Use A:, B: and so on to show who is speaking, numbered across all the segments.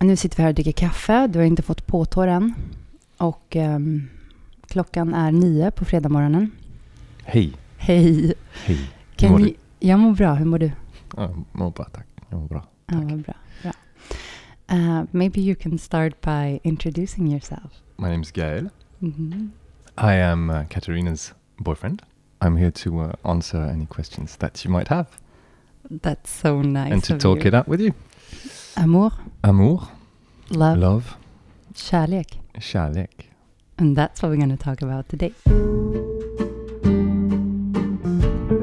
A: Nu sitter vi här och dricker kaffe. Du har inte fått påtår än. Och ehm, klockan är nio på fredagsmorgonen.
B: Hej,
A: Hej!
B: hej.
A: Kan
B: mår
A: ni-
B: du?
A: Jag mår bra. Hur mår du?
B: Ja, Jag mår bra tack. Jag mår bra.
A: Ja, vad bra. bra. Uh, maybe you can start by introducing yourself.
B: My name is Gael. Mm-hmm.
A: Mhm.
B: I am uh, Katerina's boyfriend. I'm here to uh, answer any questions that you might have
A: That's so nice
B: and to
A: of
B: talk
A: you.
B: it out with you.
A: Amour,
B: Amour,
A: love,
B: love,
A: kärlek.
B: kärlek.
A: And that's what we're going to talk about today.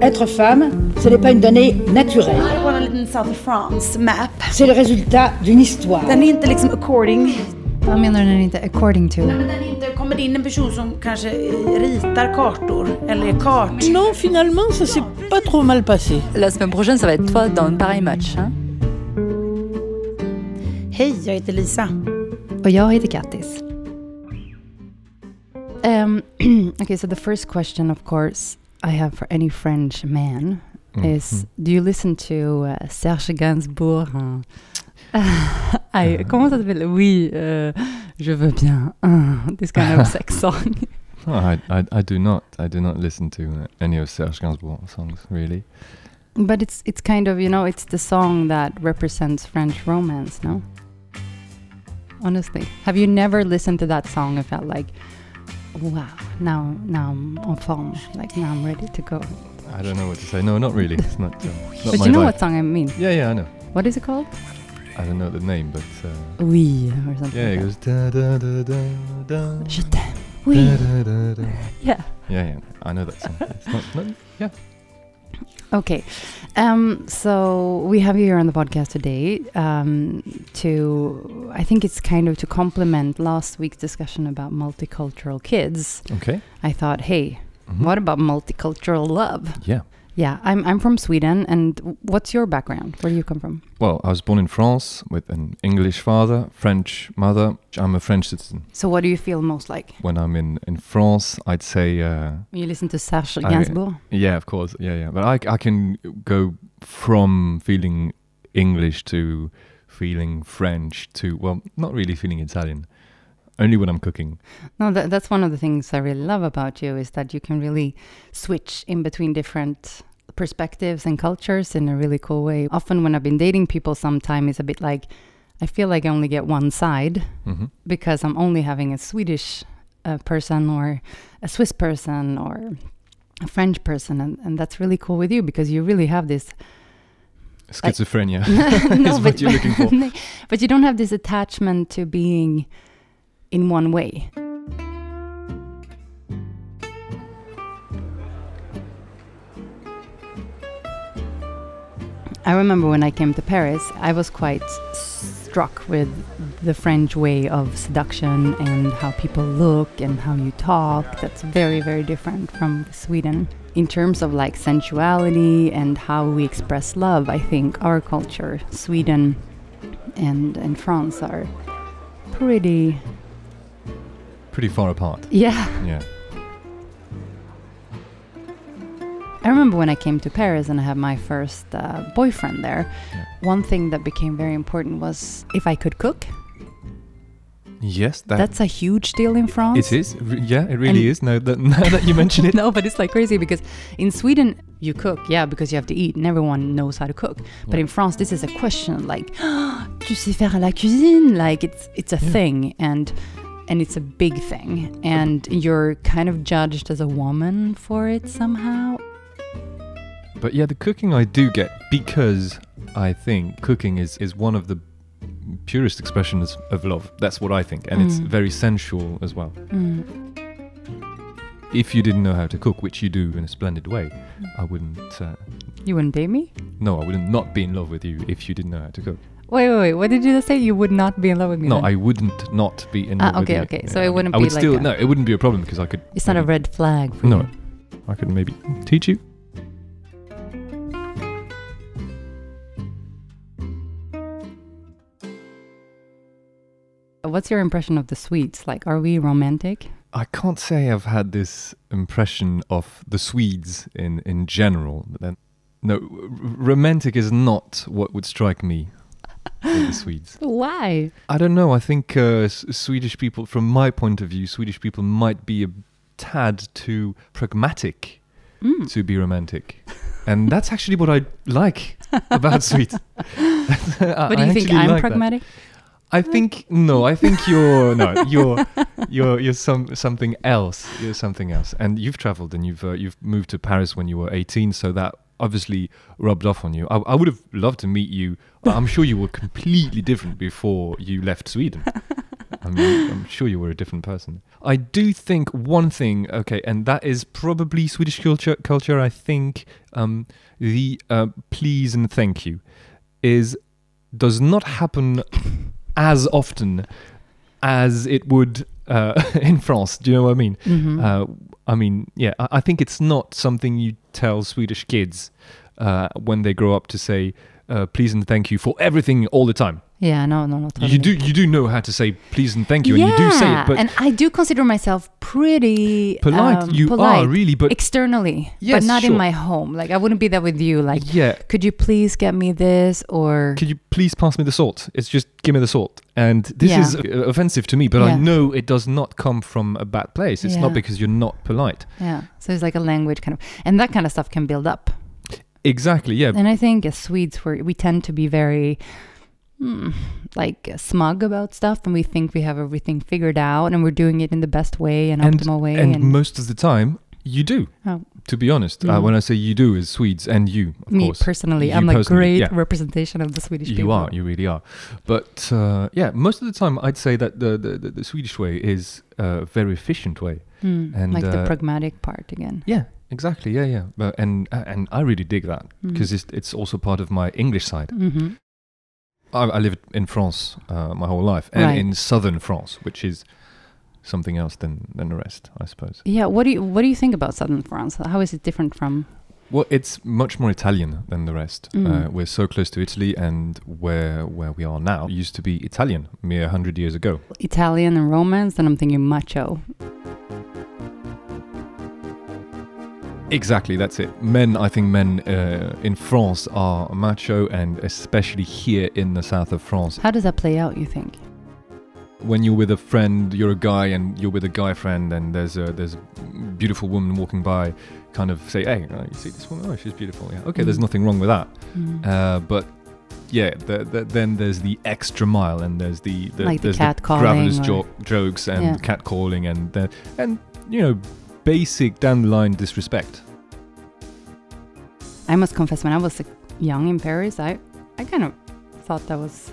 C: Être femme, ce n'est pas une donnée naturelle.
D: I want a little South of France map.
C: C'est le résultat d'une histoire.
D: Den är inte liksom according.
A: Vad menar du när det inte according to?
D: Men den inte kommer det in en person som kanske ritar kartor eller är kart.
E: Non, finalement, ça s'est pas trop mal passé.
F: La semaine prochaine, ça va être toi dans pareil match. Hein
D: Hej, jag heter Lisa.
A: Och jag heter Kattis. Um, okay, so the first question, of course, I have for any French man
B: Mm-hmm.
A: is, do you listen to uh, Serge Gainsbourg? hein? I, Comment ça s'appelle? Oui, euh, je veux bien. Uh, this kind of sex song.
B: No, I, I, I do not. I do not listen to uh, any of Serge Gainsbourg songs, really.
A: But it's, it's kind of, you know, it's the song that represents French romance, no? Honestly. Have you never listened to that song and felt like, wow, now, now I'm on form. Like, now I'm ready to go.
B: I don't know what to say. No, not really. It's not, uh, not
A: But
B: my
A: you know
B: vibe.
A: what song I mean?
B: Yeah, yeah, I know.
A: What is it called?
B: I don't know the name, but uh,
A: Oui, or something.
B: yeah, it
A: like
B: goes da da da da da.
A: that. Je t'aime.
B: Da,
A: Oui.
B: da, da, da.
A: Yeah.
B: Yeah, yeah. I know that song. It's not, not,
A: Okay. Um, so we have you here on the podcast today um, to, I think it's kind of to complement last week's discussion about multicultural kids.
B: okay.
A: I thought, hey,
B: Mhm.
A: what about multicultural love?
B: Yeah.
A: Yeah, I'm, I'm from Sweden. And what's your background? Where do you come from?
B: Well, I was born in France with an English father, French mother. I'm a French citizen.
A: So what do you feel most like?
B: When I'm in, in France, I'd say, uh,
A: When you listen to Serge
B: I-
A: Gainsbourg?
B: yeah, of course. Yeah, yeah. But I, I can go from feeling English to feeling French to, well, not really feeling Italian. Only when I'm cooking.
A: No, that, that's one of the things I really love about you is that you can really switch in between different perspectives and cultures in a really cool way. Often, when I've been dating people, sometimes it's a bit like I feel like I only get one side
B: hmm
A: because I'm only having a Swedish uh, person or a Swiss person or a French person, and, and that's really cool with you because you really have this
B: Schizophrenia
A: no,
B: is what you're looking for.
A: no, but you don't have this attachment to being in one way. I remember when I came to Paris, I was quite struck with the French way of seduction and how people look and how you talk. That's very, very different from Sweden. In terms of like sensuality and how we express love, I think our culture, Sweden and, and France, are pretty.
B: Pretty far apart.
A: Yeah.
B: Yeah.
A: I remember when I came to Paris and I had my first uh, boyfriend there,
B: Yeah.
A: one thing that became very important was if I could cook.
B: Yes, that
A: That's a huge deal in France.
B: it is. Re- yeah, it really
A: And-
B: is. Now that, now that you mention it.
A: no, but it's like crazy because in Sweden you cook, yeah, because you have to eat, and everyone knows how to cook. But
B: Yeah.
A: in France, this is a question like, tu sais faire la cuisine? Like it's it's a
B: Yeah.
A: thing, and and it's a big thing, and you're kind of judged as a woman for it somehow.
B: But yeah, the cooking I do get because I think cooking is, is one of the purest expressions of love. That's what I think. And it's
A: Mm.
B: very sensual as well.
A: Mm.
B: If you didn't know how to cook, which you do in a splendid way,
A: Mm.
B: I wouldn't. Uh,
A: You wouldn't date me?
B: no, I wouldn't not be in love with you if you didn't know how to cook.
A: Wait, wait, wait. What did you just say? You would not be in love with me?
B: No,
A: then?
B: I wouldn't not be in
A: Ah,
B: love with
A: okay,
B: you.
A: okay. So it
B: I mean,
A: wouldn't
B: I
A: be
B: would
A: like
B: still,
A: a-
B: No, it wouldn't be a problem because I could.
A: It's not a
B: maybe-
A: red flag. For
B: No.
A: you.
B: I could maybe teach you.
A: What's your impression of the Swedes? Like, are we romantic?
B: I can't say I've had this impression of the Swedes in, in general. Then, no, r- romantic is not what would strike me with the Swedes.
A: Why?
B: I don't know. I think uh, S- Swedish people, from my point of view, Swedish people might be a tad too pragmatic
A: Mm.
B: to be romantic. And that's actually what I like about Swedes.
A: But do you think I'm pragmatic?
B: I think no. I think you're no. You're you're you're some something else. You're something else. And you've travelled and you've uh, you've moved to Paris when you were 18, so that obviously rubbed off on you. I, I would have loved to meet you. I'm sure you were completely different before you left Sweden. I mean, I'm sure you were a different person. I do think one thing, okay, and that is probably Swedish culture. Culture, I think, um, the uh, please and thank you is does not happen as often as it would uh, in France. Do you know what I mean?
A: Mhm.
B: Uh, I mean, yeah, I, I think it's not something you tell Swedish kids uh, when they grow up to say uh, please and thank you for everything all the time.
A: yeah, no, no, no. Totally.
B: You do you do know how to say please and thank you,
A: yeah,
B: and you do say it, but
A: and I do consider myself pretty
B: polite
A: um,
B: you
A: polite.
B: are really, but
A: externally,
B: Yes,
A: but not in
B: sure.
A: my home. Like I wouldn't be that with you. Like,
B: yeah.
A: could you please get me this or?
B: Could you please pass me the salt? It's just give me the salt. And this
A: Yeah.
B: is uh, offensive to me, but I
A: Yeah.
B: know it does not come from a bad place. It's
A: Yeah.
B: not because you're not polite.
A: Yeah. So it's like a language kind of, and that kind of stuff can build up.
B: Exactly. Yeah.
A: And I think as Swedes, we we tend to be very mm, like smug about stuff, and we think we have everything figured out, and we're doing it in the best way and, optimal way.
B: And, most of the time, you do.
A: Oh.
B: To be honest, uh,
A: Mm.
B: when I say you do, is Swedes and you, of
A: me
B: course.
A: personally,
B: You
A: I'm like
B: personally,
A: great
B: yeah.
A: representation of the Swedish people.
B: You are, you really are. But uh, yeah, most of the time, I'd say that the the, the, the Swedish way is a very efficient way.
A: Mm,
B: And,
A: like the
B: uh,
A: pragmatic part again.
B: Yeah, exactly. Yeah, yeah. But, and uh, and I really dig that
A: Mm.
B: because it's it's also part of my English side.
A: Mhm.
B: I, I lived in France uh, my whole life, and
A: Right.
B: in southern France, which is something else than than the rest, I suppose.
A: Yeah. What do you What do you think about southern France? How is it different from?
B: Well, it's much more Italian than the rest.
A: Mm.
B: Uh, we're so close to Italy, and where where we are now used to be Italian mere hundred years ago.
A: Italian and Romance, then I'm thinking macho.
B: Exactly, that's it. Men, I think men uh, in France are macho, and especially here in the south of France,
A: How does that play out, you think?
B: when you're with a friend, you're a guy, and you're with a guy friend, and there's a there's a beautiful woman walking by, kind of say, hey, uh, you see this woman? Oh, she's beautiful. Yeah, okay, there's
A: Mm.
B: nothing wrong with that.
A: Mm.
B: Uh, but yeah, the, the, then there's the extra mile, and there's the, the
A: Like the
B: there's
A: catcalling
B: gravelous
A: or-
B: jo- jokes and
A: Yeah.
B: catcalling, and the, and you know, basic down the line disrespect.
A: I must confess, when I was like, young in Paris, I, I kind of thought that was.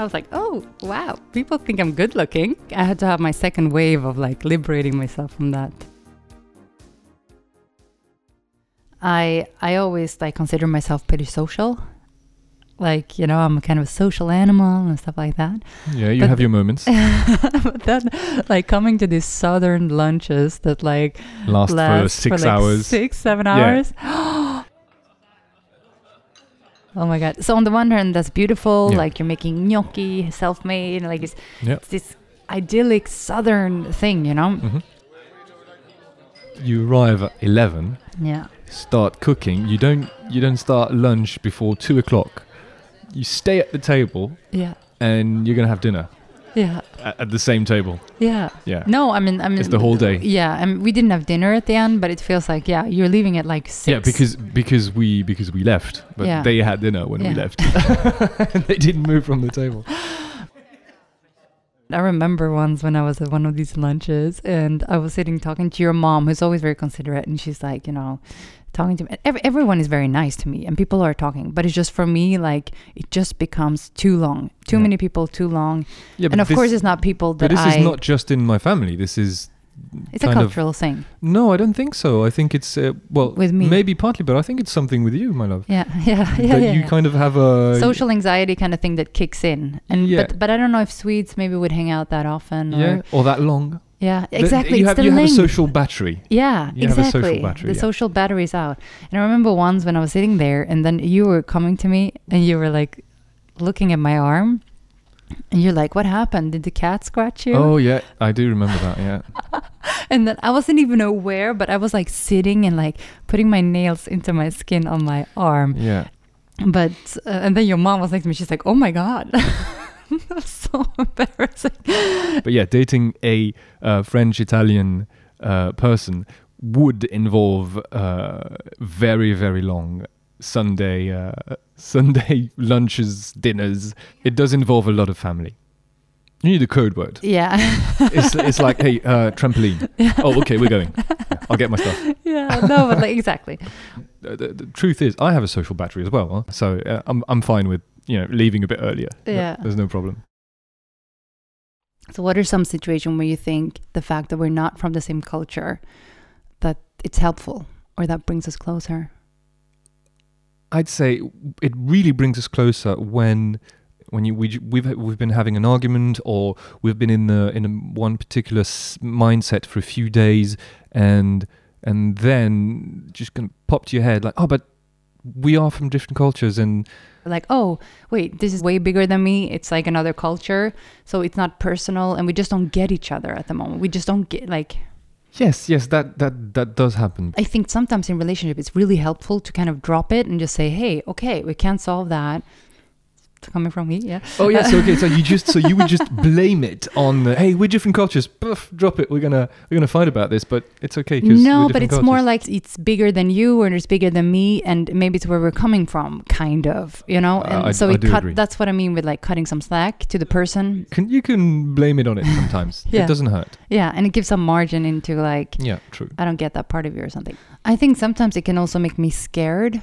A: I was like, oh, wow, people think I'm good looking. I had to have my second wave of like liberating myself from that. I I always like consider myself pretty social. Like, you know, I'm kind of a social animal and stuff like that.
B: Yeah, you
A: But-
B: have your moments.
A: but then like coming to these southern lunches that like
B: Last for
A: lasts
B: six
A: like,
B: hours.
A: Six, seven
B: Yeah.
A: hours. oh my god! So on the one hand, that's beautiful.
B: Yeah.
A: Like you're making gnocchi, self-made, like it's,
B: Yeah. Mm.
A: it's this idyllic southern thing, you know?
B: Mm-hmm. You arrive at eleven.
A: Yeah.
B: start cooking. You don't you don't start lunch before two o'clock. You stay at the table
A: Yeah.
B: and you're gonna have dinner
A: Yeah.
B: at, at the same table.
A: Yeah.
B: Yeah,
A: No, I mean, I mean,
B: it's the whole day.
A: Yeah, I mean, we didn't have dinner at the end, but it feels like yeah, you're leaving at like six.
B: Yeah, because because we because we left, but
A: Yeah.
B: they had dinner when
A: Yeah.
B: we left. And they didn't move from the table.
A: I remember once when I was at one of these lunches and I was sitting talking to your mom, who's always very considerate, and she's like, you know, talking to me. Ev- everyone is very nice to me, and people are talking, but it's just for me, like it just becomes too long, too
B: Yeah.
A: many people, too long,
B: Yeah,
A: and of
B: this,
A: course it's not people
B: but
A: that
B: this
A: I.
B: is not just in my family. This is
A: it's a
B: kind of-
A: cultural thing.
B: no, I don't think so. I think it's uh, well,
A: With me.
B: maybe partly, but I think it's something with you, my love.
A: Yeah, yeah, yeah.
B: that
A: yeah,
B: you
A: yeah.
B: kind of have a
A: Social anxiety kind of thing that kicks in, and
B: Yeah.
A: but but I don't know if Swedes maybe would hang out that often. Or,
B: yeah, or that long.
A: yeah,
B: Th-
A: exactly.
B: You
A: it's
B: have,
A: the
B: you have a
A: length.
B: social battery.
A: Yeah,
B: You have a social
A: exactly.
B: battery,
A: the
B: yeah.
A: social battery's out. And I remember once when I was sitting there, and then you were coming to me, and you were like looking at my arm, and you're like, "What happened? Did the cat scratch you?"
B: Oh yeah, I do remember that. Yeah,
A: And then I wasn't even aware, but I was like sitting and like putting my nails into my skin on my arm,
B: yeah.
A: But uh, and then your mom was next to me. She's like, "Oh my god." That was so embarrassing.
B: Oh. But yeah, dating a uh, French Italian uh, person would involve uh, very very long Sunday uh, Sunday lunches, dinners. It does involve a lot of family. You need a code word.
A: Yeah.
B: It's, it's like, hey, uh, trampoline. Oh, okay, we're going. Yeah, I'll get my stuff.
A: yeah. No, but like exactly.
B: Uh, the, the truth is, I have a social battery as well, huh? so uh, I'm I'm fine with you know leaving a bit earlier. No-
A: Yeah.
B: there's no problem.
A: So, what are some situations where you think the fact that we're not from the same culture that it's helpful or that brings us closer?
B: I'd say it really brings us closer when when you we, we've we've been having an argument or we've been in the in a, one particular s- mindset for a few days and and then just gonna pop to your head like oh but we are from different cultures and
A: Like, oh, wait, this is way bigger than me. It's like another culture. So it's not personal. And we just don't get each other at the moment. We just don't get, like,
B: yes yes that that that does happen
A: I think sometimes in relationship, it's really helpful to kind of drop it and just say, hey, okay, we can't solve that. It's coming from me, yeah.
B: oh yes okay so you just so you would just blame it on the, hey we're different cultures Poof, drop it we're gonna we're gonna fight about this but it's okay 'cause
A: No, but
B: we're different
A: it's more
B: cultures.
A: like it's bigger than you, or it's bigger than me, and maybe it's where we're coming from, kind of, you know.
B: Uh,
A: And
B: I-
A: so
B: I
A: it
B: do
A: cut.
B: agree.
A: That's what I mean with like cutting some slack to the person.
B: can, you can blame it on it sometimes
A: Yeah.
B: it doesn't hurt
A: Yeah, and it gives some margin into like
B: yeah true
A: I don't get that part of you or something. I think sometimes it can also make me scared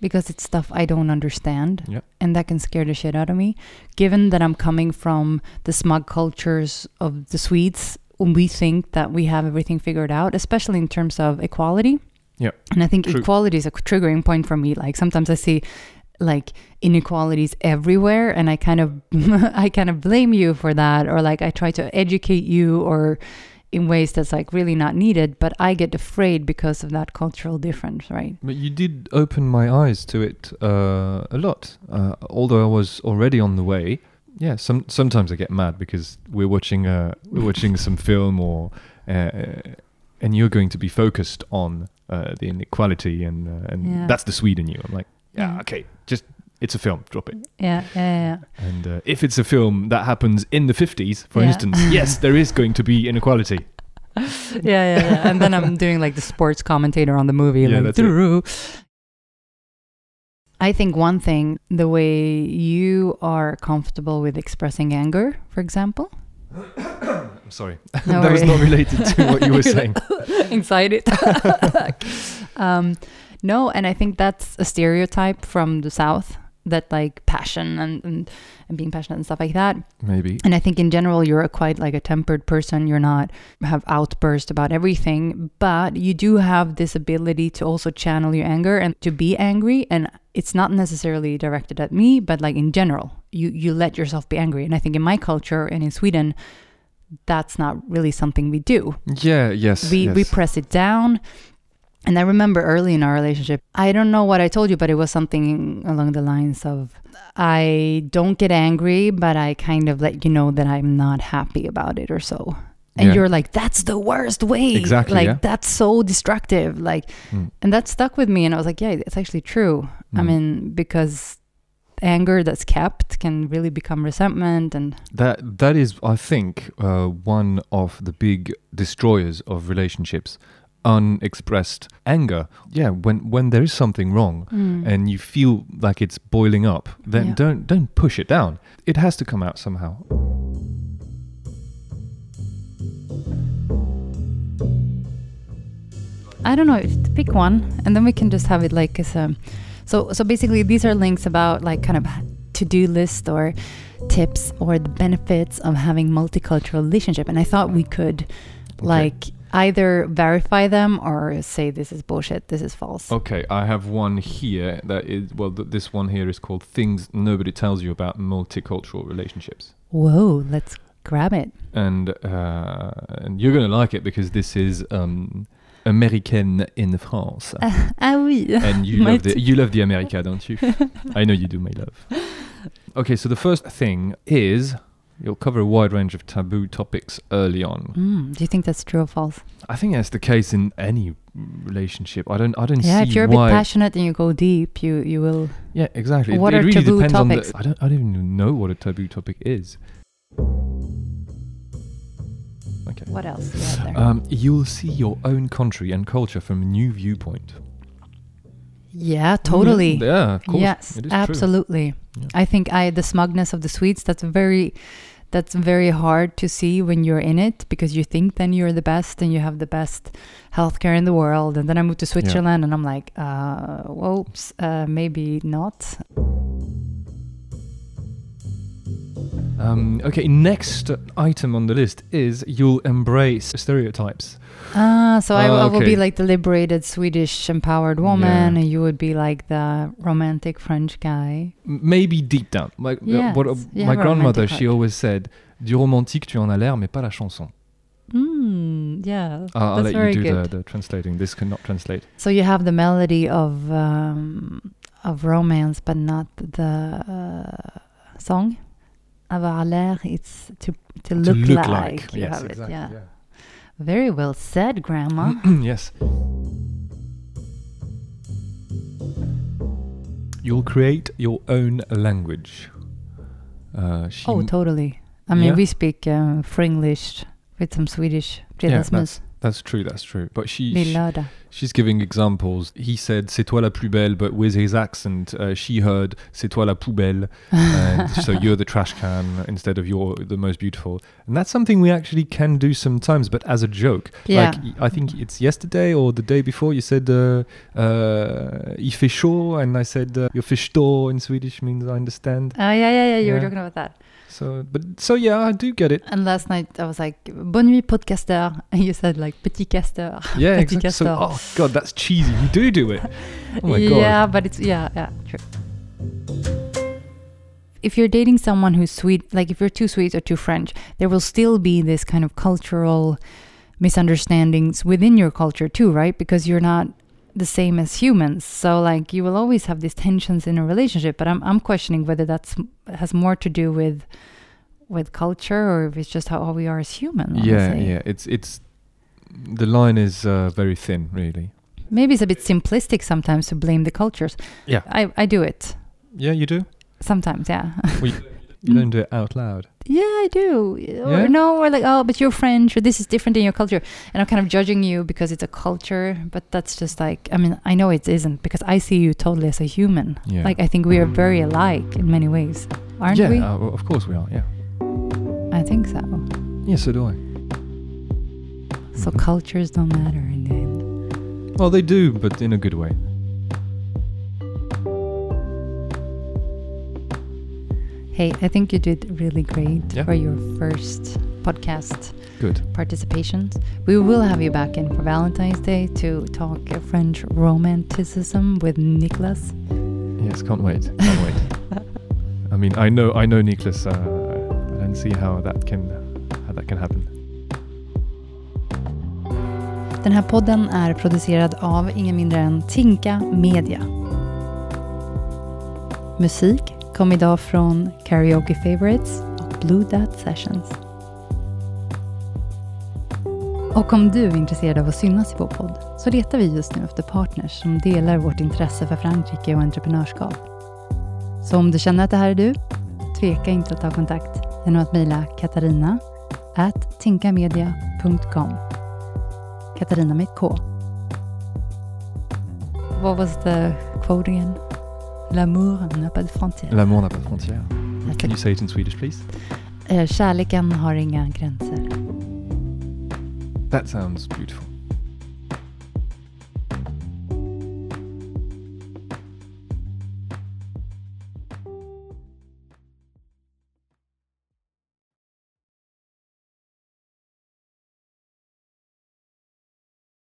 A: because it's stuff I don't understand.
B: Yeah.
A: And that can scare the shit out of me. Given that I'm coming from the smug cultures of the Swedes, when we think that we have everything figured out, especially in terms of equality.
B: Yeah.
A: And I think
B: True.
A: equality is a triggering point for me. Like sometimes I see like inequalities everywhere and I kind of I kind of blame you for that or like I try to educate you or in ways that's like really not needed, but I get afraid because of that cultural difference, right?
B: But you did open my eyes to it uh, a lot, uh, although I was already on the way. Yeah, some sometimes I get mad because we're watching uh, we're watching some film or uh, and you're going to be focused on uh, the inequality and uh, and
A: Yeah.
B: that's the Swede in you. I'm like,
A: Yeah.
B: yeah, okay, just it's a film, drop it.
A: Yeah, yeah,
B: And uh, if it's a film that happens in the 50s, for
A: Yeah.
B: instance, yes, there is going to be inequality.
A: yeah, yeah, yeah, yeah. And then I'm doing like the sports commentator on the movie,
B: Yeah,
A: like
B: that's it.
A: "Doo-doo." I think one thing, the way you are comfortable with expressing anger, for example,
B: I'm sorry,
A: No
B: that was
A: worry.
B: not related to what you were
A: You're
B: saying.
A: anxiety. um, no, and I think that's a stereotype from the South that like passion and, and, and being passionate and stuff like that.
B: Maybe
A: And I think in general, you're a quite like a tempered person. You're not have outbursts about everything, but you do have this ability to also channel your anger and to be angry. And it's not necessarily directed at me, but like in general, you you let yourself be angry. And I think in my culture and in Sweden, that's not really something we do
B: yeah, yes,
A: we
B: yes.
A: we press it down and i remember early in our relationship i don't know what i told you but it was something along the lines of i don't get angry but i kind of let you know that i'm not happy about it or so and
B: Yeah.
A: you're like that's the worst way
B: Exactly,
A: like
B: yeah.
A: that's so destructive like
B: Mm.
A: and that stuck with me and i was like yeah it's actually true i
B: Mm.
A: mean because anger that's kept can really become resentment and
B: That that is, I think, uh, one of the big destroyers of relationships. Unexpressed anger. Yeah, when when there is something wrong and you feel like it's boiling up, then
A: Yeah.
B: don't don't push it down. It has to come out somehow.
A: I don't know. just Pick one, and then we can just have it like as a. So so basically, these are links about like kind of to-do list or tips or the benefits of having multicultural relationship. And I thought we could, like, either verify them or say this is bullshit, this is false.
B: Okay, I have one here that is well. Th- this one here is called "Things Nobody Tells You About Multicultural Relationships,"
A: Whoa, let's grab it.
B: and uh, and you're gonna like it because this is um, Americaine in France.
A: Ah oui.
B: and you
A: My
B: love the
A: t-
B: you love the America, don't you? I know you do, my love. Okay, so the first thing is You'll cover a wide range of taboo topics early on.
A: Mm, do you think that's true or false?
B: I think that's the case in any relationship. I don't. I don't
A: yeah,
B: see
A: if you're a bit
B: why.
A: passionate and you go deep, you you will.
B: yeah, exactly. It-
A: What
B: it,
A: are
B: really
A: taboo
B: depends
A: topics?
B: on the. I don't. I don't even know what a taboo topic is. Okay.
A: What else? do you have there?
B: Um, you'll see your own country and culture from a new viewpoint.
A: yeah, totally.
B: Mm, Yeah, of course.
A: yes,
B: it is true.
A: absolutely.
B: Yeah.
A: I think I the smugness of the Swedes. That's very, that's very hard to see when you're in it because you think then you're the best and you have the best healthcare in the world. And then I moved to Switzerland and I'm like, uh, whoops, uh, maybe not.
B: Um, okay, next item on the list is you'll embrace stereotypes.
A: Ah, so I,
B: Ah,
A: I will
B: okay.
A: be like the liberated Swedish empowered woman,
B: Yeah.
A: and you would be like the romantic French guy.
B: M- Maybe deep down. My,
A: Yes,
B: what, uh,
A: you have
B: my
A: a
B: grandmother,
A: romantic
B: she
A: heart.
B: always said, Du romantique, tu en as l'air, mais pas la chanson.
A: Mm, yeah,
B: Uh, I'll
A: that's
B: let
A: very
B: you do
A: good.
B: the, the translating. This cannot translate.
A: So you have the melody of um, of romance, but not the uh, song. Avoir l'air, it's to to look,
B: to look like.
A: You
B: yes,
A: have it,
B: exactly, Mm-hmm.
A: yeah. Very well said, Grandma.
B: yes. You'll create your own language. Uh, she
A: oh, totally. I mean,
B: Yeah.
A: we speak um, Fringlish with some Swedish.
B: Yeah,
A: Fredasmus,
B: that's true, that's true. But she, she-
A: Lillördag.
B: She's giving examples. He said, C'est toi la plus belle, but with his accent. Uh, she heard, C'est toi la poubelle. And so you're the trash can instead of you're the most beautiful. And that's something we actually can do sometimes, but as a joke.
A: Yeah.
B: Like, y- I think it's yesterday or the day before, you said, uh, uh, Il fait chaud. And I said, uh, Your fish door in Swedish means I understand.
A: Oh yeah, yeah, yeah. You were
B: Yeah.
A: talking about that.
B: So, but so yeah, I do get it.
A: And last night I was like, "Bonne nuit, podcaster," and you said like "petit casteur."
B: Yeah,
A: Petit
B: exactly. So,
A: castor.
B: oh, God, that's cheesy. You do do it. Oh, my God.
A: Yeah, but it's yeah, yeah, true. If you're dating someone who's sweet, like if you're too sweet or too French, there will still be this kind of cultural misunderstandings within your culture too, right? Because you're not the same as humans. So like you will always have these tensions in a relationship, but I'm I'm questioning whether that's has more to do with with culture or if it's just how, how we are as humans.
B: Yeah, yeah. It's it's the line is uh, very thin, really.
A: Maybe it's a bit simplistic sometimes to blame the cultures.
B: Yeah.
A: I, I do it
B: Yeah, you do.
A: sometimes, yeah.
B: You
A: Mm.
B: don't do it out loud.
A: yeah, I do.
B: Yeah?
A: Or no, or like, oh, but you're French, or this is different in your culture. And I'm kind of judging you because it's a culture, but that's just like, I mean, I know it isn't because I see you totally as a human.
B: Yeah.
A: Like, I think we are very alike in many ways, aren't
B: yeah,
A: we?
B: uh, well, of course we are. Yeah.
A: I think so.
B: Yeah, so do I.
A: So cultures don't matter in the end.
B: Well, they do, but in a good way.
A: Hey, I think you did really great
B: Yeah.
A: for your first podcast.
B: Good.
A: participations. We will have you back in for Valentine's Day to talk uh, French romanticism with Nicolas.
B: Yes, can't wait. Can't wait. I mean, I know, I know, Nicholas. Uh, I don't see how that can, how that can happen.
A: Den här podden är producerad av ingen mindre än Tinka Media. Musik kom idag från Karaoke Favorites och Blue Dot Sessions. Och om du är intresserad av att synas i vår podd så letar vi just nu efter partners som delar vårt intresse för Frankrike och entreprenörskap. Så om du känner att det här är du, tveka inte att ta kontakt genom att mejla katarina at tinkamedia.com Katarina med ett K. What was the quote again? L'amour n'a pas de frontières.
B: L'amour n'a pas de frontières.
A: That's it.
B: Can you say it in Swedish, please?
A: Eh, Kärleken har inga gränser.
B: That sounds beautiful.